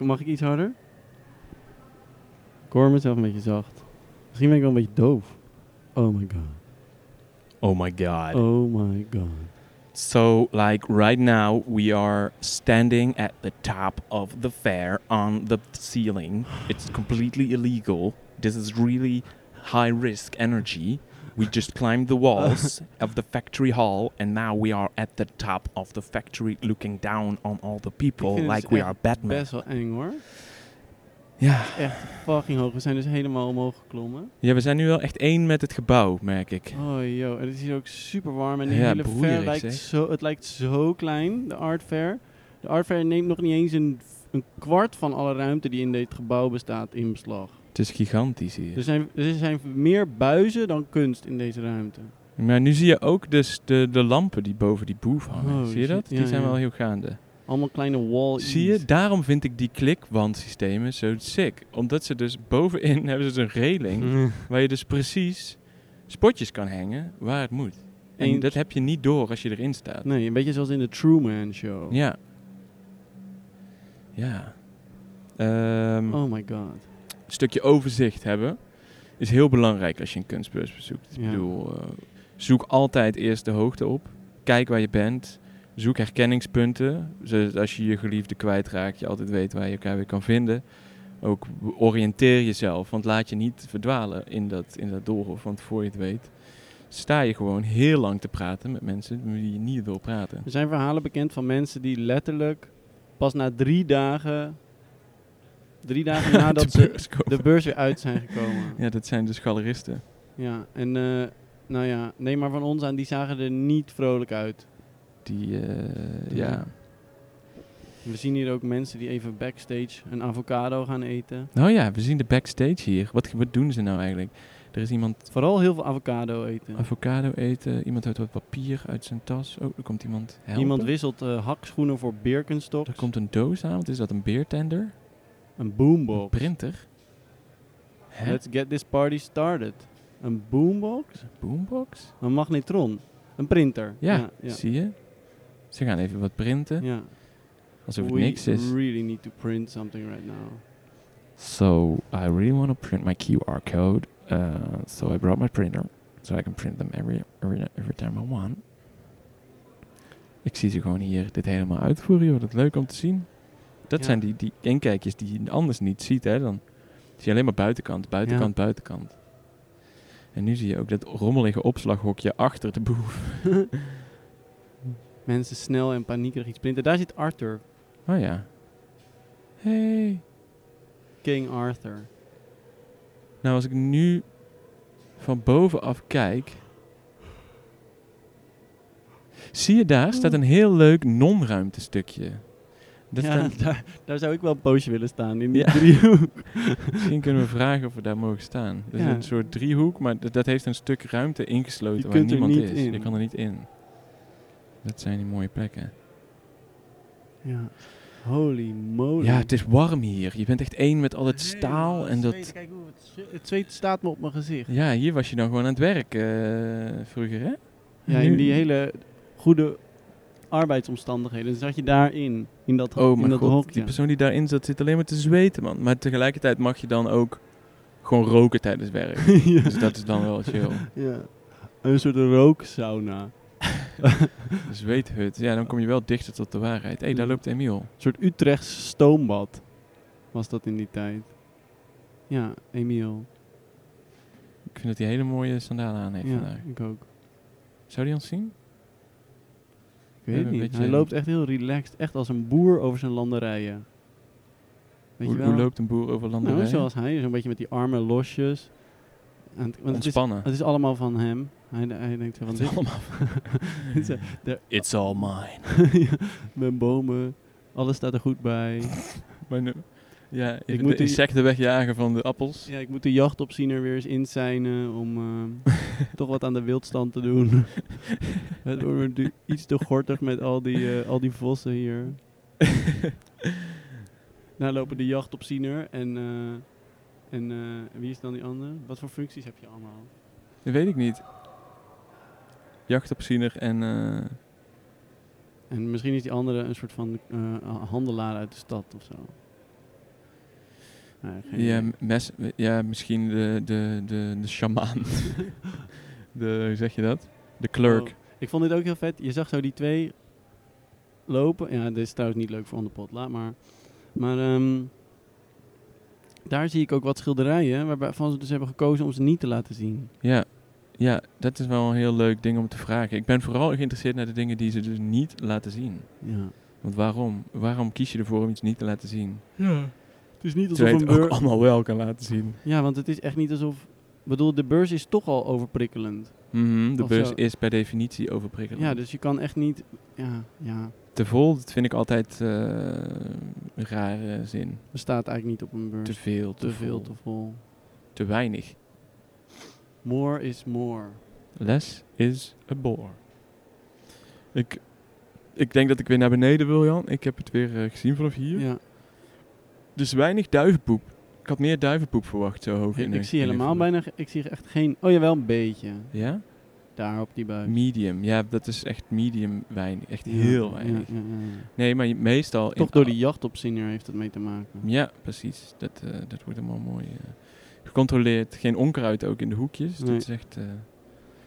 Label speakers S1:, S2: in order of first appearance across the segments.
S1: Mag ik iets harder? Ik hoor mezelf een beetje zacht. Misschien ben ik wel een beetje doof. Oh my god.
S2: Oh my god.
S1: Oh my god.
S2: So, like right now, we are standing at the top of the fair on the ceiling. It's completely illegal. This is really high risk energy. We just climbed the walls of the factory hall, and now we are at the top of the factory looking down on all the people
S1: vind het
S2: like we
S1: echt
S2: are Batman.
S1: Best wel eng hoor.
S2: Ja.
S1: Echt fucking hoog. We zijn dus helemaal omhoog geklommen.
S2: ja, we zijn nu wel echt één met het gebouw, merk ik.
S1: Oh joh, en het is hier ook super warm. En die
S2: Ja,
S1: hele fair
S2: broeierig,
S1: lijkt
S2: zeg.
S1: zo, het lijkt zo klein, de art fair. De art fair neemt nog niet eens een, een kwart van alle ruimte die in dit gebouw bestaat in beslag.
S2: Het is gigantisch hier.
S1: Er zijn, er zijn meer buizen dan kunst in deze ruimte.
S2: maar nu zie je ook dus de, de lampen die boven die boef hangen.
S1: Oh,
S2: zie je dat?
S1: shit.
S2: Die
S1: Ja,
S2: zijn
S1: ja.
S2: wel heel gaande.
S1: Allemaal kleine wall
S2: Zie je, daarom vind ik die klikbandsystemen zo sick. Omdat ze dus bovenin hebben ze dus
S1: Mhm.
S2: een reling waar je dus precies spotjes kan hangen waar het moet. En
S1: Eens.
S2: dat heb je niet door als je erin staat.
S1: Nee, een beetje zoals in de Truman Show.
S2: Ja. Ja. Ehm,
S1: Oh my god.
S2: Een stukje overzicht hebben is heel belangrijk als je een kunstbeurs bezoekt. Ik
S1: Ja.
S2: bedoel, eh, zoek altijd eerst de hoogte op. Kijk waar je bent. Zoek herkenningspunten, zodat als je je geliefde kwijtraakt, je altijd weet waar je elkaar weer kan vinden. Ook oriënteer jezelf, want laat je niet verdwalen in dat, in dat doolhof. Want voor je het weet, sta je gewoon heel lang te praten met mensen die je niet wil praten.
S1: Er zijn verhalen bekend van mensen die letterlijk pas na drie dagen, drie dagen nadat
S2: De
S1: ze
S2: beurs kopen.
S1: de beurs weer uit zijn gekomen.
S2: Ja, dat zijn dus galeristen.
S1: Ja, en eh, nou ja, neem maar van ons aan, die zagen er niet vrolijk uit.
S2: Die, eh, ja.
S1: We zien hier ook mensen die even backstage een avocado gaan eten.
S2: Nou ja, we zien de backstage hier. Wat, wat doen ze nou eigenlijk? Er is iemand
S1: Vooral heel veel avocado eten.
S2: avocado eten. Iemand houdt wat papier uit zijn tas. Oh, er komt iemand helpen.
S1: Iemand wisselt eh, hakschoenen voor Birkenstocks.
S2: Er komt een doos aan. Wat is dat? Een beertender?
S1: Een
S2: Een
S1: boombox.
S2: printer? Hè?
S1: Let's get this party started. Een boombox?
S2: Boombox?
S1: Een magnetron? Een printer?
S2: Ja,
S1: ja.
S2: zie je? Ze gaan even wat printen.
S1: ja.
S2: Alsof het
S1: We
S2: niks is.
S1: really need to print something right now.
S2: So, I really want to print my QR code. Uh, so I brought my printer. So I can print them every, every, every time I want. Ik zie ze gewoon hier dit helemaal uitvoeren. Joh. Dat is leuk om te zien. Dat
S1: Ja.
S2: zijn die, die inkijkjes die je anders niet ziet. Hè, dan zie je alleen maar buitenkant, buitenkant, buitenkant. En nu zie je ook dat rommelige opslaghokje achter de boer.
S1: Mensen snel en paniekerig iets printen. Daar zit Arthur.
S2: Oh ja. Hey.
S1: King Arthur.
S2: Nou, als ik nu van bovenaf kijk. Zie je daar staat een heel leuk non-ruimtestukje. Dat
S1: ja,
S2: staan-
S1: daar, daar zou ik wel een poosje willen staan in die
S2: Ja.
S1: driehoek.
S2: misschien kunnen we vragen of we daar mogen staan. Dat
S1: Ja.
S2: is een soort driehoek, maar dat, dat heeft een stuk ruimte ingesloten
S1: Je
S2: waar
S1: kunt er
S2: niemand
S1: niet
S2: is. Je
S1: in.
S2: kan er niet in. Dat zijn die mooie plekken.
S1: Ja. Holy moly.
S2: Ja, het is warm hier. Je bent echt één met al het staal en dat.
S1: Kijk hoe het, zweet- het zweet staat me op mijn gezicht.
S2: Ja, hier was je dan gewoon aan het werk eh, vroeger, hè?
S1: Ja,
S2: Nu-
S1: in die hele goede arbeidsomstandigheden zat je daarin. In dat, ho-
S2: Oh
S1: in
S2: mijn
S1: dat
S2: god,
S1: hokje.
S2: die persoon die daarin zat zit alleen maar te zweten, man. Maar tegelijkertijd mag je dan ook gewoon roken tijdens werk.
S1: Ja.
S2: dus dat is dan wel chill.
S1: Ja. Een soort rooksauna.
S2: Een Zweethut. Ja, dan kom je wel dichter tot de waarheid. Hé, hey, daar loopt Emiel.
S1: Een soort Utrechts stoombad was dat in die tijd. Ja, Emiel.
S2: Ik vind dat hij hele mooie sandalen aan heeft
S1: ja,
S2: vandaag.
S1: ik ook.
S2: Zou die ons zien?
S1: Ik
S2: We
S1: weet het
S2: hebben
S1: niet.
S2: een beetje
S1: Hij
S2: een-
S1: loopt echt heel relaxed. Echt als een boer over zijn landerijen. Weet
S2: Hoe,
S1: je
S2: hoe
S1: wel?
S2: loopt een boer over
S1: Nou,
S2: landerijen?
S1: zoals hij. Zo'n beetje met die armen losjes. En het, want het, is,
S2: Ontspannen.
S1: het is allemaal van hem. Hij, hij denkt zo van...
S2: Het is
S1: Dit,
S2: allemaal-
S1: dit is- de-
S2: It's all mine.
S1: ja, mijn bomen. Alles staat er goed bij.
S2: Maar nu- ja, ik,
S1: moet
S2: moet de
S1: die-
S2: insecten wegjagen van de appels.
S1: Ja, ik moet de jachtopziener weer eens inzijnen om ehm, toch wat aan de wildstand te doen. Het wordt me du- iets te gortig met al die, eh, al die vossen hier. Daar lopen de jachtopziener en, eh, en eh, wie is dan die andere? Wat voor functies heb je allemaal?
S2: Dat weet ik niet. Jachtopziener en... eh,
S1: En misschien is die andere een soort van eh, handelaar uit de stad of zo. Nee, geen
S2: Ja,
S1: idee.
S2: mes, ja misschien de, de, de, de shamaan. de, hoe zeg je dat? De clerk.
S1: Oh. Ik vond dit ook heel vet. Je zag zo die twee lopen. Ja, dit is trouwens niet leuk voor on the pot, laat maar. Maar ehm, daar zie ik ook wat schilderijen waarvan ze dus hebben gekozen om ze niet te laten zien.
S2: Ja. ja, dat is wel een heel leuk ding om te vragen. Ik ben vooral geïnteresseerd naar de dingen die ze dus niet laten zien.
S1: Ja.
S2: Want waarom? Waarom kies je ervoor om iets niet te laten zien?
S1: Het is niet alsof
S2: Terwijl
S1: een
S2: je het ook
S1: beurs...
S2: allemaal wel kan laten zien.
S1: Ja, want het is echt niet alsof... Ik bedoel, de beurs is toch al overprikkelend.
S2: Mhm, de
S1: Of
S2: beurs
S1: zo.
S2: is per definitie overprikkelend.
S1: Ja, dus je kan echt niet... Ja, ja.
S2: Te vol, dat vind ik altijd eh, een rare zin.
S1: Bestaat eigenlijk niet op een beurs.
S2: Te veel, te,
S1: te veel,
S2: vol,
S1: te vol.
S2: te weinig.
S1: More is more.
S2: Less is a bore. Ik, ik denk dat ik weer naar beneden wil, Jan. Ik heb het weer eh, gezien vanaf hier.
S1: Ja.
S2: Dus weinig duivenpoep. Ik had meer duivenpoep verwacht, zo hoog in
S1: Ik,
S2: de-
S1: ik zie
S2: in de
S1: helemaal
S2: vloer.
S1: bijna... ge- Ik zie echt geen... Oh, jawel, een beetje.
S2: Ja?
S1: Daar op die buik.
S2: Medium. Ja, dat is echt medium weinig. Echt
S1: Ja,
S2: heel
S1: ja,
S2: weinig.
S1: ja, ja, ja.
S2: Nee, maar je- meestal... in
S1: Toch door
S2: al-
S1: die jachtopziener heeft het mee te maken.
S2: Ja, precies. Dat, eh, dat wordt allemaal mooi eh, gecontroleerd. Geen onkruid ook in de hoekjes.
S1: Nee.
S2: Dat is echt... eh,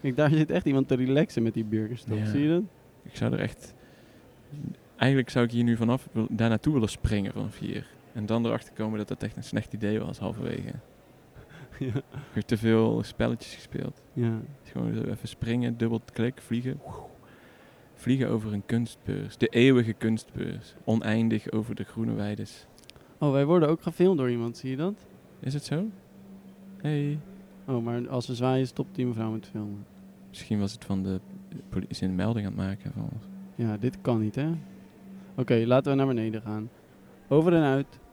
S1: Kijk, daar zit echt iemand te relaxen met die birkenstoel.
S2: Ja.
S1: Zie je dat?
S2: ik zou er echt... Eigenlijk zou ik hier nu vanaf wil- daar naartoe willen springen van vier. En dan erachter komen dat dat echt een slecht idee was halverwege.
S1: ja.
S2: Ik heb te veel spelletjes gespeeld.
S1: ja.
S2: Dus gewoon zo even springen, dubbel klik, vliegen. Vliegen over een kunstbeurs. De eeuwige kunstbeurs. Oneindig over de groene weides.
S1: Oh, wij worden ook gefilmd door iemand, zie je dat?
S2: Is het zo? Hey.
S1: Oh, maar als ze zwaaien stopt die mevrouw met filmen.
S2: Misschien was het van de politie een melding aan het maken van ons.
S1: Ja, dit kan niet, hè? Oké, laten we naar beneden gaan. Over en uit.